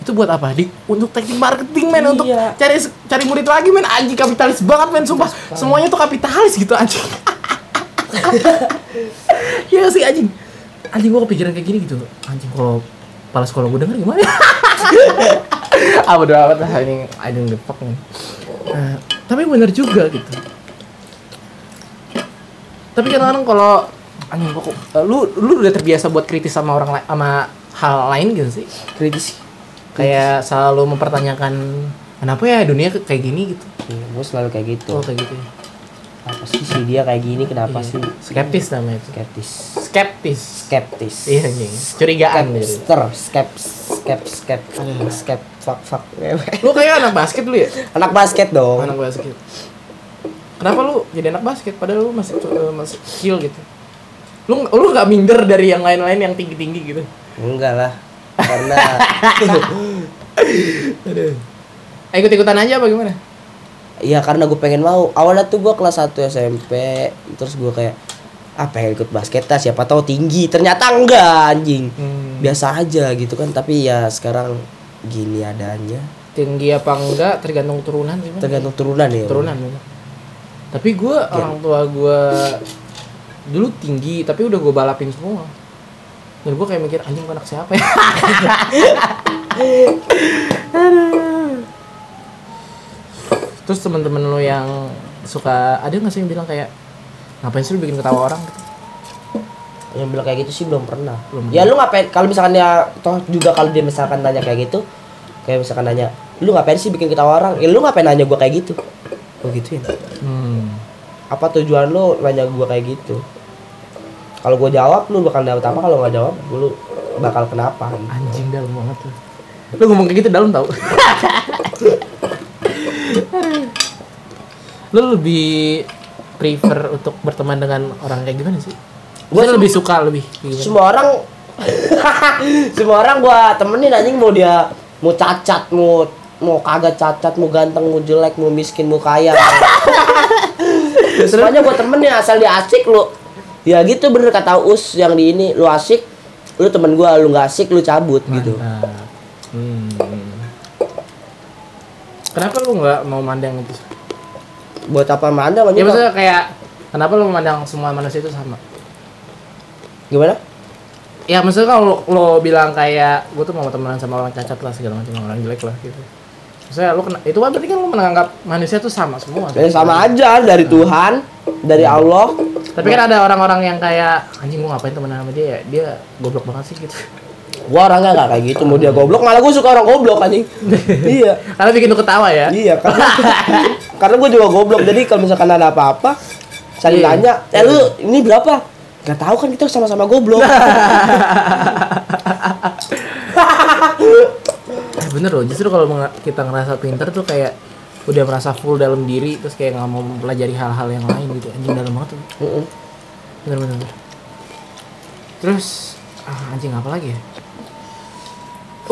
A: Itu buat apa? Di, untuk teknik marketing men, untuk
B: Iya.
A: cari cari murid lagi men. Anjing kapitalis banget men, Iya, sumpah. Semuanya tuh kapitalis gitu anjing. Iya gak sih anjing. Anjing gua kepikiran kayak gini gitu. Anjing kalau kepala sekolah gua denger gimana? ah bodo amat lah ini I don't give a fuck man. Eh, tapi bener juga gitu. Tapi kadang-kadang kalau anjing gua kok- eh, lu lu udah terbiasa buat kritis sama orang lain sama hal lain gitu sih.
B: Kritis.
A: Kayak selalu mempertanyakan kenapa ya dunia ke- kayak gini gitu.
B: Iya, gue selalu kayak gitu.
A: Oh kayak gitu ya.
B: Apa sih si dia kayak gini kenapa
A: Iya.
B: sih?
A: Skeptis namanya itu.
B: Skeptis.
A: Skeptis.
B: Skeptis.
A: Iya anjing. Curigaan gitu.
B: Skepster, skep, skep, skep, skep, fuck, fuck.
A: Lu kayak anak basket lu ya?
B: Anak basket dong.
A: anak basket kenapa lu jadi anak basket padahal lu masih eh, masih kecil gitu lu lu nggak minder dari yang lain-lain yang tinggi-tinggi gitu
B: Enggak lah. Karena
A: eh, ikut-ikutan aja apa gimana
B: Iya karena gue pengen mau Awalnya tuh gue kelas 1 SMP Terus gue kayak Ah pengen ikut basket lah siapa tahu tinggi Ternyata enggak anjing
A: Hmm.
B: Biasa aja gitu kan Tapi ya sekarang gini adanya
A: tinggi apa enggak tergantung turunan gimana
B: Tergantung turunan ya
A: turunan gitu. tapi gue orang tua gue dulu tinggi tapi udah gue balapin semua dan gue kayak mikir anjing gua anak siapa ya Aduh. Terus teman-teman lu yang suka ada nggak sih yang bilang kayak ngapain sih lu bikin ketawa orang?
B: yang bilang kayak gitu sih belum pernah ya lu ngapain kalau misalkan dia toh juga kalau dia misalkan nanya kayak gitu kayak misalkan nanya lu ngapain sih bikin ketawa orang ya lu ngapain nanya gua kayak gitu gua gituin
A: Hmm.
B: apa tujuan lu nanya gua kayak gitu kalau gua jawab lu bakal dapet apa kalau nggak jawab lu bakal kenapa
A: Anjing dalam banget tuh. Lu ngomong kayak gitu dalam tau. lu lebih prefer untuk berteman dengan orang kayak gimana sih? Gue
B: Gua sih-
A: lebih suka lebih kayak gimana?
B: semua orang semua orang gua temenin anjing mau dia mau cacat mau mau kagak cacat mau ganteng mau jelek mau miskin mau kaya semuanya gua temenin asal dia asik lu ya gitu bener kata us yang di ini lu asik lu temen gua lu nggak asik lu cabut gitu
A: Mantap. Hmm. Kenapa lu nggak mau mandang itu?
B: buat apa mana
A: Ya
B: anjing
A: maksudnya kayak kenapa lu memandang semua manusia itu sama?
B: gimana
A: Ya maksudnya kalau lo bilang kayak gue tuh mau temenan sama orang cacat lah segala macam orang jelek lah gitu. Maksudnya lu kena, itu kan berarti kan lu menganggap manusia tuh sama semua.
B: ya sama aja dari Tuhan dari Allah
A: Tapi kan ada orang-orang yang kayak anjing gua ngapain temenan sama dia ya? Dia goblok banget sih gitu.
B: gua orangnya nggak kayak gitu mau dia goblok malah gua suka orang goblok anjing iya
A: Karena bikin lu ketawa ya.
B: Iya karena karena gue juga goblok jadi kalau misalkan ada apa-apa saling
A: Iya.
B: tanya eh lu ini berapa Gak tahu kan kita sama-sama goblok
A: Nah. Eh bener loh, justru kalau menga- kita ngerasa pinter tuh kayak udah merasa full dalam diri terus kayak nggak mau mempelajari hal-hal yang lain gitu anjing dalam banget tuh
B: Mm-mm.
A: bener bener, bener. terus ah, anjing apa lagi ya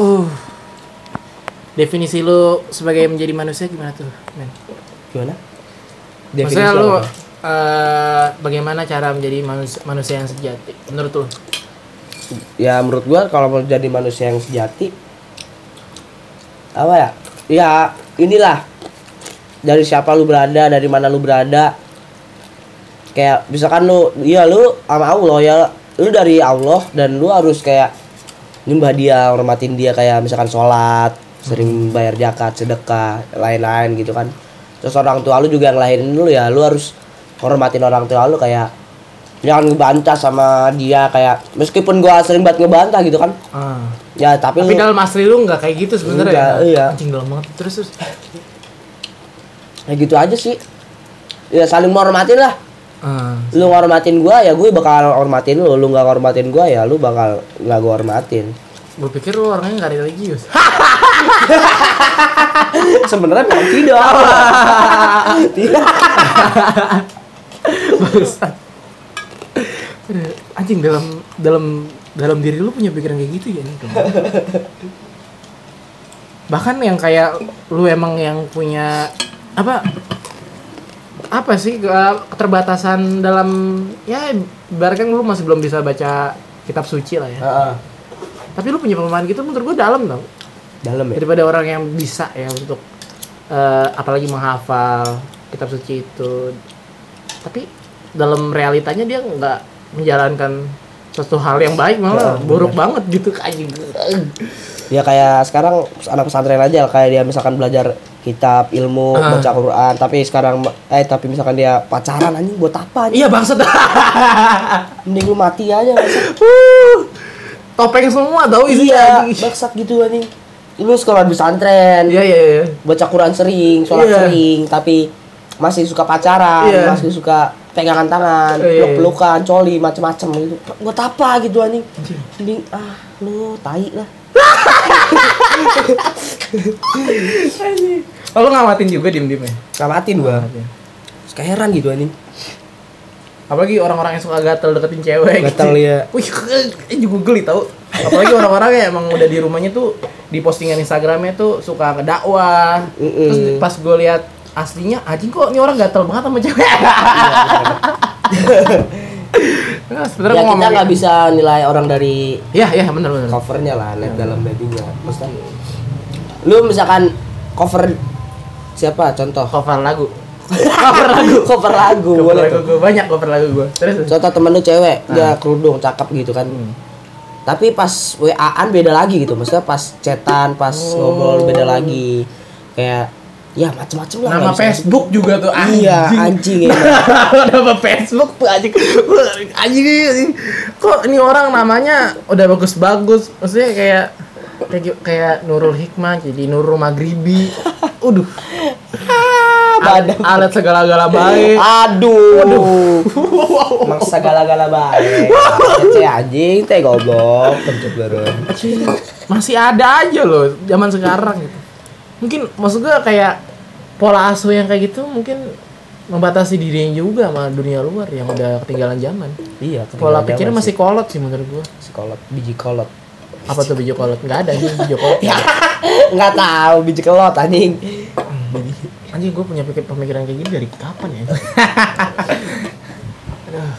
A: uh definisi lu sebagai menjadi manusia gimana tuh men
B: gimana
A: maksudnya
B: Definisi
A: lu
B: apa?
A: eh, bagaimana cara menjadi manusia, manusia yang sejati menurut lu
B: ya menurut gue kalau mau jadi manusia yang sejati apa ya ya inilah dari siapa lu berada dari mana lu berada kayak misalkan lu ya lu sama Allah ya lu dari Allah dan lu harus kayak nyembah dia hormatin dia kayak misalkan sholat sering bayar zakat sedekah lain-lain gitu kan terus orang tua lu juga yang lahirin lu ya lu harus hormatin orang tua lu kayak jangan ngebantah sama dia kayak meskipun gua sering banget ngebantah gitu kan
A: ah.
B: ya tapi,
A: tapi
B: lu-
A: dalam asli lu nggak kayak gitu sebenarnya
B: Enggak,
A: ya?
B: iya.
A: anjing dalam banget terus terus
B: ya gitu aja sih ya saling menghormatin lah
A: Ah.
B: lu ngormatin gua ya gue bakal hormatin lu lu nggak ngormatin gua ya lu bakal nggak gua hormatin
A: gue pikir lu orangnya nggak religius
B: Kan sebenarnya memang tidak tidak
A: Bangsat. Aduh, anjing dalam dalam dalam diri lu punya pikiran kayak gitu ya nih bahkan yang kayak lu emang yang punya apa apa sih ke- keterbatasan dalam ya ibaratkan lu masih belum bisa baca kitab suci lah ya
B: Heeh.
A: tapi lu punya pemahaman gitu menurut gua dalam tau
B: dalam ya
A: daripada orang yang bisa ya untuk eh, apalagi menghafal kitab suci itu tapi dalam realitanya dia nggak menjalankan suatu hal yang baik malah buruk banget gitu anjing
B: ya kayak sekarang anak pesantren aja kayak dia misalkan belajar kitab ilmu
A: Ah.
B: baca Quran tapi sekarang eh tapi misalkan dia pacaran anjing buat apa anjing
A: iya bangsat
B: mending lu mati aja bangsat.
A: Wuh, topeng semua tau
B: iya
A: isinya anjing.
B: bangsat gitu anjing lu sekolah di pesantren
A: iya iya iya
B: baca Quran sering, sholat
A: Iya.
B: sering, tapi masih suka pacaran,
A: Iya.
B: masih suka pegangan tangan,
A: Iya, iya.
B: peluk-pelukan, coli, macem-macem gitu. Buat apa gitu anjing? Mending ah lu tai lah.
A: oh, lu ngamatin juga diem diem ya
B: Kamatin gua. Suka heran gitu anjing.
A: apalagi orang-orang yang suka gatel deketin cewek
B: Gatel,
A: gitu.
B: iya.
A: wih ini gue geli tau apalagi orang-orang yang emang udah di rumahnya tuh di postingan instagramnya tuh suka ngedakwah
B: Mm-mm.
A: terus pas gue lihat aslinya anjing kok ini orang gatel banget sama cewek nah, sebenernya
B: Ya
A: mau
B: kita
A: ngomong
B: nggak bisa nilai orang dari
A: ya ya bener bener
B: covernya lah, net dalam dadinya. Maksudnya, lu misalkan cover siapa contoh
A: cover lagu
B: cover lagu cover lagu
A: cover
B: boleh
A: lagu Ah. gue banyak cover lagu gue terus terus.
B: contoh temen lu cewek dia kerudung cakep gitu kan
A: Hmm.
B: tapi pas
A: Oh.
B: waan beda lagi gitu maksudnya pas cetan pas ngobrol beda lagi kayak ya macem-macem lah
A: Nama
B: nggak bisa.
A: Facebook juga tuh anjing.
B: iya anjing ya
A: Nama Facebook tuh anjing. Anjing ini- ini. Kok ini orang namanya udah bagus-bagus. Maksudnya kayak kayak gi- kayak Nurul Hikmah jadi Nurul Magribi. Uduh, alat,
B: Badam.
A: alet segala-gala baik.
B: Ah. Aduh. Emang segala-gala baik. Cek anjing, teh goblok, pencet baru.
A: Anjing, masih ada aja loh zaman sekarang gitu. Mungkin maksud gua kayak pola asuh yang kayak gitu mungkin membatasi dirinya juga sama dunia luar yang udah ketinggalan zaman.
B: Iya,
A: Pola pikirnya masih kolot sih menurut gua.
B: kolot, biji kolot.
A: Apa tuh biji kolot? Enggak ada ini biji kolot.
B: Enggak tahu biji kolot anjing.
A: Anjing gua punya pikir pemikiran kayak gini dari kapan ya? Aduh.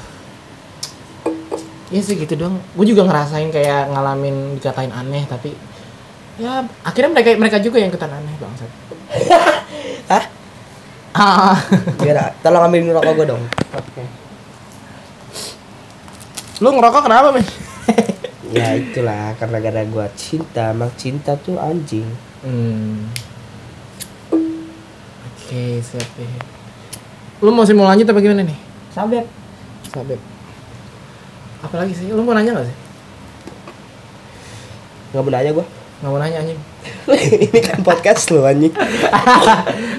A: Iya sih gitu dong. Gue juga ngerasain kayak ngalamin dikatain aneh tapi ya akhirnya mereka mereka juga yang ketan aneh bangsat.
B: Hah?
A: Ah.
B: Biar tolong ambilin rokok gue dong.
A: Oke. Lu ngerokok kenapa, Mas?
B: Ya itulah karena gara gua cinta, emang cinta tuh anjing.
A: Hmm. Oke, siap deh. Lu masih mau lanjut apa gimana nih?
B: Sabep.
A: Sabep. Apa lagi sih? Lu mau nanya gak sih?
B: Enggak mau nanya gua.
A: Gak mau nanya anjing.
B: Ini kan podcast lu anjing.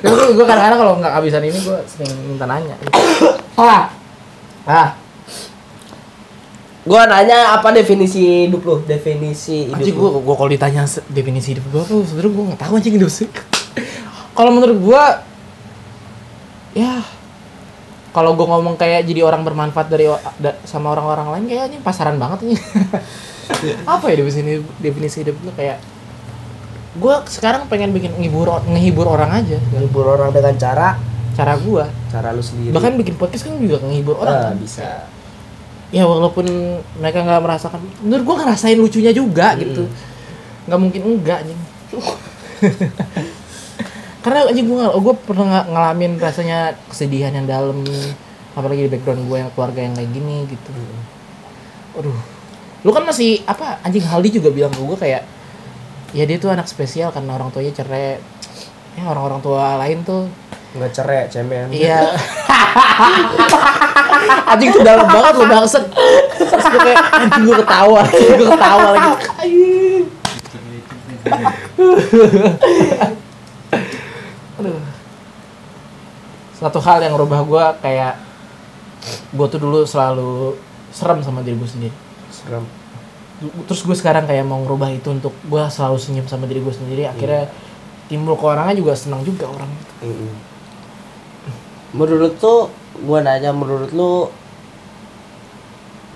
A: gue gue kadang-kadang kalau nggak kehabisan ini gue sering minta nanya. Gitu. ah, ah,
B: Gua nanya apa definisi hidup lu? Definisi hidup.
A: anjing
B: lu.
A: gue gue kalau ditanya se- definisi hidup gue tuh sebenernya gue nggak tahu anjing hidup sih. kalau menurut gue, ya kalau gue ngomong kayak jadi orang bermanfaat dari o- da- sama orang-orang lain kayak anjing pasaran banget nih. Apa ya definisi definisi hidup lu kayak gue sekarang pengen bikin ngehibur o- ngehibur orang aja
B: Menghibur orang dengan cara
A: cara gue
B: cara lu sendiri.
A: bahkan bikin podcast kan juga ngehibur orang
B: Ah,
A: kan?
B: bisa.
A: ya walaupun mereka nggak merasakan menurut gua ngerasain lucunya juga gitu nggak mungkin enggak anjing karena anjing gua ngal- gua pernah nga- ngalamin rasanya kesedihan yang dalam apalagi di background gua yang keluarga yang kayak gini gitu aduh lu kan masih apa anjing Haldi juga bilang ke gua kayak ya dia tuh anak spesial karena orang tuanya cerai ya orang-orang tua lain tuh
B: Nggak cerai, cemen.
A: Iya. anjing tuh dalam banget lo bangset. Terus gue kayak anjing gue ketawa, anjing gue ketawa lagi. Aduh. Satu hal yang rubah gue kayak gue tuh dulu selalu serem sama diri gue sendiri.
B: Serem.
A: Terus gue sekarang kayak mau ngerubah itu untuk gue selalu senyum sama diri gue sendiri. Akhirnya timbul ke orangnya juga senang juga orang itu.
B: Mm-mm. Menurut tuh, gua nanya menurut lu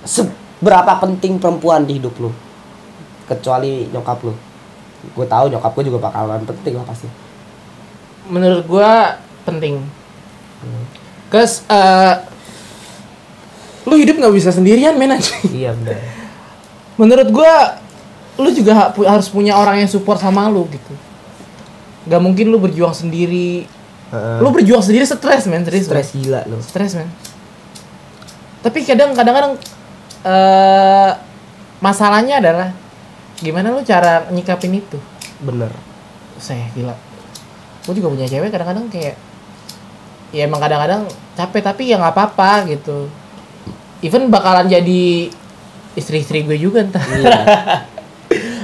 B: seberapa penting perempuan di hidup lu? Kecuali nyokap lu. Gue tahu nyokap gue juga bakalan penting lah pasti.
A: menurut gua penting. Cause eh, lu hidup nggak bisa sendirian men anjing.
B: Iya benar.
A: Menurut gua lu juga ha- pu- harus punya orang yang support sama lu gitu. Gak mungkin lu berjuang sendiri. Lu berjuang sendiri stres men, serius. men.
B: Stres gila lu.
A: Stres men. Tapi kadang kadang-kadang eh masalahnya adalah gimana lu cara nyikapin itu.
B: Bener.
A: saya gila gue juga punya cewek kadang-kadang kayak ya emang kadang-kadang capek tapi ya nggak apa-apa gitu even bakalan jadi istri-istri gue juga entar
B: Hmm. Iya.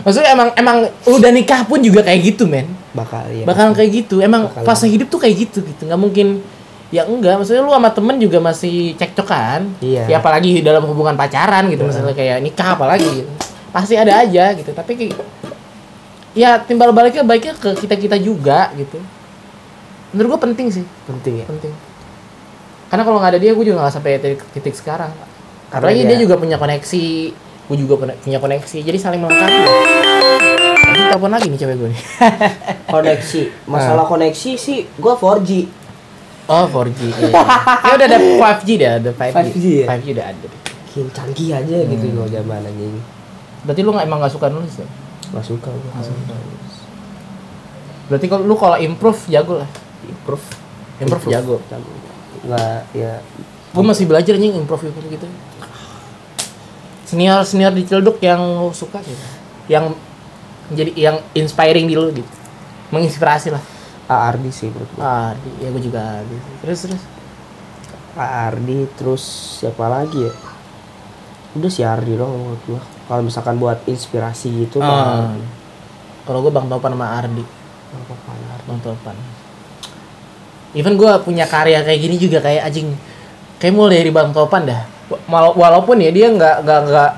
A: maksudnya emang emang udah nikah pun juga kayak gitu men
B: Bakal iya.
A: bakalan kayak gitu emang
B: Bakalan.
A: fase hidup tuh kayak gitu gitu nggak mungkin ya enggak maksudnya lu sama temen juga masih cekcokan
B: Iya.
A: ya apalagi dalam hubungan pacaran gitu misalnya kayak nikah apalagi gitu. pasti ada aja gitu tapi kayak ya timbal baliknya baiknya ke kita kita juga gitu menurut gua penting sih
B: penting ya.
A: penting karena kalau nggak ada dia gue juga nggak sampai titik, titik sekarang
B: Karena
A: apalagi
B: dia-
A: dia, juga punya koneksi gue juga pun- punya koneksi jadi saling melengkapi Anjing, telepon lagi nih cewek gue nih
B: Koneksi. Masalah koneksi sih gue 4G.
A: Oh 4G. Iya. ya udah ada 5G dah, ada 5G.
B: 5G, ya?
A: 5G udah ada.
B: Makin canggih aja gitu gue zaman anjing.
A: Berarti lu nggak emang nggak suka nulis ya?
B: Gak suka gue.
A: Berarti kalau lu kalau improve jago lah.
B: Improve.
A: Improve, jago.
B: Jago. Nggak ya.
A: Gue masih belajar anjing improve improve gitu. Senior senior di Ciledug yang lu suka sih. Yang jadi yang inspiring di lu gitu. Menginspirasi lah.
B: Ardi sih menurut gua.
A: Ardi, ya gue juga Ardi.
D: Terus terus.
B: Ardi terus siapa lagi ya? Udah si Ardi dong menurut gua. Kalau misalkan buat inspirasi gitu
A: Ah.
B: mah
A: Kalau gue Bang Topan sama Ardi,
B: apa Ardi?
A: Bang Topan. Even gue punya karya kayak gini juga kayak anjing kayak mulai dari Bang Topan dah. Wala- Walaupun ya dia nggak nggak nggak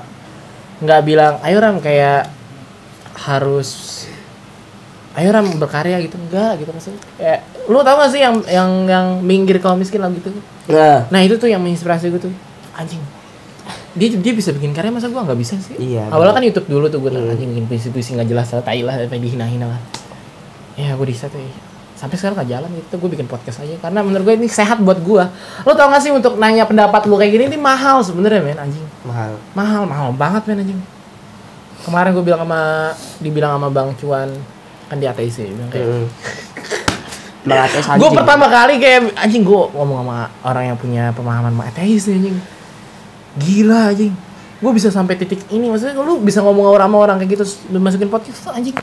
A: nggak bilang ayo ram kayak harus ayo ram berkarya gitu enggak gitu maksudnya kayak lu tau gak sih yang yang yang minggir kalau miskin lagu gitu
B: Nah,
A: Nah itu tuh yang menginspirasi gue tuh anjing. Dia dia bisa bikin karya masa gue nggak bisa sih.
B: Iya,
A: Awalnya kan YouTube dulu tuh gue anjing bikin puisi-puisi nggak jelas lah, tai lah, sampai dihina-hina lah. Ya gue bisa tuh. Sampai sekarang nggak jalan itu gue bikin podcast aja karena menurut gue ini sehat buat gue. Lo tau gak sih untuk nanya pendapat lo kayak gini ini mahal sebenarnya men anjing.
B: mahal.
A: Mahal mahal banget men anjing. Kemarin gue bilang sama dibilang sama Bang Cuan kan di ATC bilang kayak
B: Heeh. Malakas anjing.
A: Gue pertama kali kayak anjing gue ngomong sama orang yang punya pemahaman sama ateis nih, anjing. Gila anjing. Gue bisa sampai titik ini maksudnya lu bisa ngomong sama orang kayak gitu terus lu masukin podcast tuh, anjing.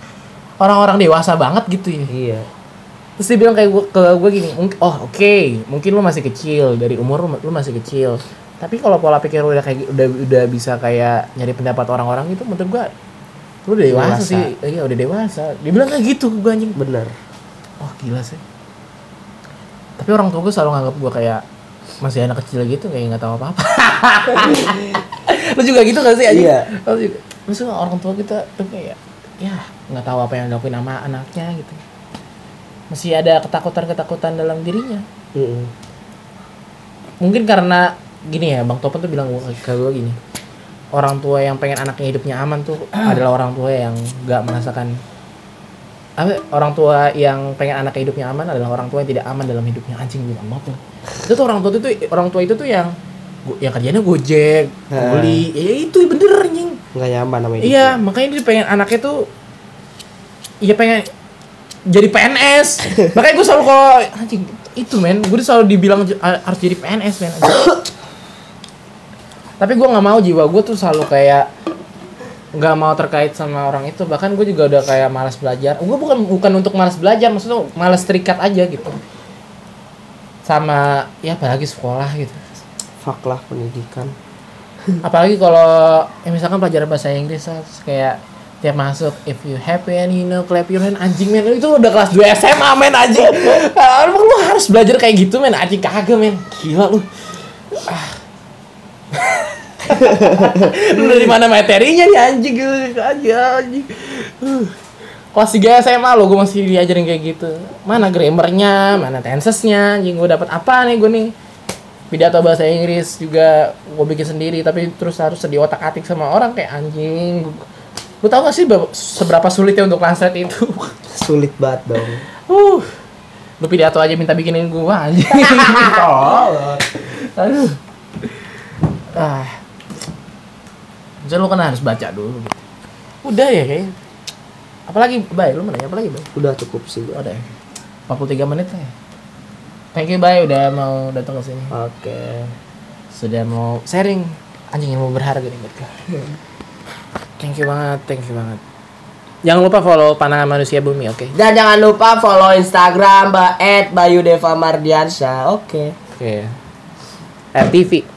A: Orang-orang dewasa banget gitu ya.
B: Iya.
A: Terus dia bilang kayak gua, ke gue gini, "Mung- oh oke, mungkin lu masih kecil dari umur lu, lu masih kecil. Tapi kalau pola pikir lu udah kayak udah udah bisa kayak nyari pendapat orang-orang gitu, menurut gua lu udah dewasa,
B: Dewasa.
A: sih, iya udah dewasa. Dia bilang kayak gitu ke gue anjing.
B: Bener.
A: Wah gila sih. Tapi orang tua gue selalu nganggap gue kayak masih anak kecil gitu kayak nggak tahu apa-apa. Lu juga gitu gak sih? anjing?
B: Iya.
A: Lu juga. Maksudnya orang tua kita tuh kayak ya nggak tahu apa yang dilakuin sama anaknya gitu. Masih ada ketakutan-ketakutan dalam dirinya.
B: Heeh.
A: Mungkin karena gini ya, Bang Topan tuh bilang gua- ke gue gini. Orang tua yang pengen anaknya hidupnya aman tuh adalah orang tua yang nggak merasakan apa orang tua yang pengen anak hidupnya aman adalah orang tua yang tidak aman dalam hidupnya anjing gue bilang banget lu. itu tuh orang tua itu tuh orang tua itu tuh yang go- yang kerjanya gojek
B: Nah.
A: beli ya itu bener anjing
B: Enggak nyaman namanya.
A: iya makanya dia pengen anaknya tuh iya pengen jadi PNS makanya gue selalu kalau anjing itu men gue tuh selalu dibilang j- a- harus jadi PNS men anjing. tapi gue nggak mau jiwa gue tuh selalu kayak nggak mau terkait sama orang itu bahkan gue juga udah kayak malas belajar gue bukan bukan untuk malas belajar maksudnya malas terikat aja gitu sama ya apalagi sekolah gitu
B: Fuck lah pendidikan.
A: apalagi kalau ya misalkan pelajaran bahasa Inggris lah, terus kayak tiap masuk if you happy and you know clap your hand anjing men itu udah kelas 2 SMA men anjing Ah, emang lu harus belajar kayak gitu men anjing kagak men gila lu Ah. lu dari mana materinya nih anjing gitu aja anjing Uh. kelas 3 SMA lo gue masih diajarin kayak gitu mana grammarnya mana tensesnya anjing gue dapat apa nih gue nih pidato bahasa Inggris juga gue bikin sendiri tapi terus harus di otak atik sama orang kayak anjing lu tau gak sih bab- seberapa sulitnya untuk translate itu
B: Sulit banget dong.
A: uh lu pidato aja minta bikinin gua anjing Tolol. aduh ah jadi lu kan harus baca dulu gitu. udah ya kayaknya apalagi baik lu mana ya apalagi baik
B: Udah cukup sih gua.
A: udah ya. 43 menit lah ya thank you bye udah mau datang ke sini
B: Oke.
A: sudah mau sharing anjing yang mau berharga nih buat gue. Thank you banget, thank you banget. Jangan lupa follow pandangan manusia bumi, oke?
B: Dan jangan lupa follow Instagram Mbak Ed Bayu Deva Mardiansyah. Oke.
A: Oke. RTV.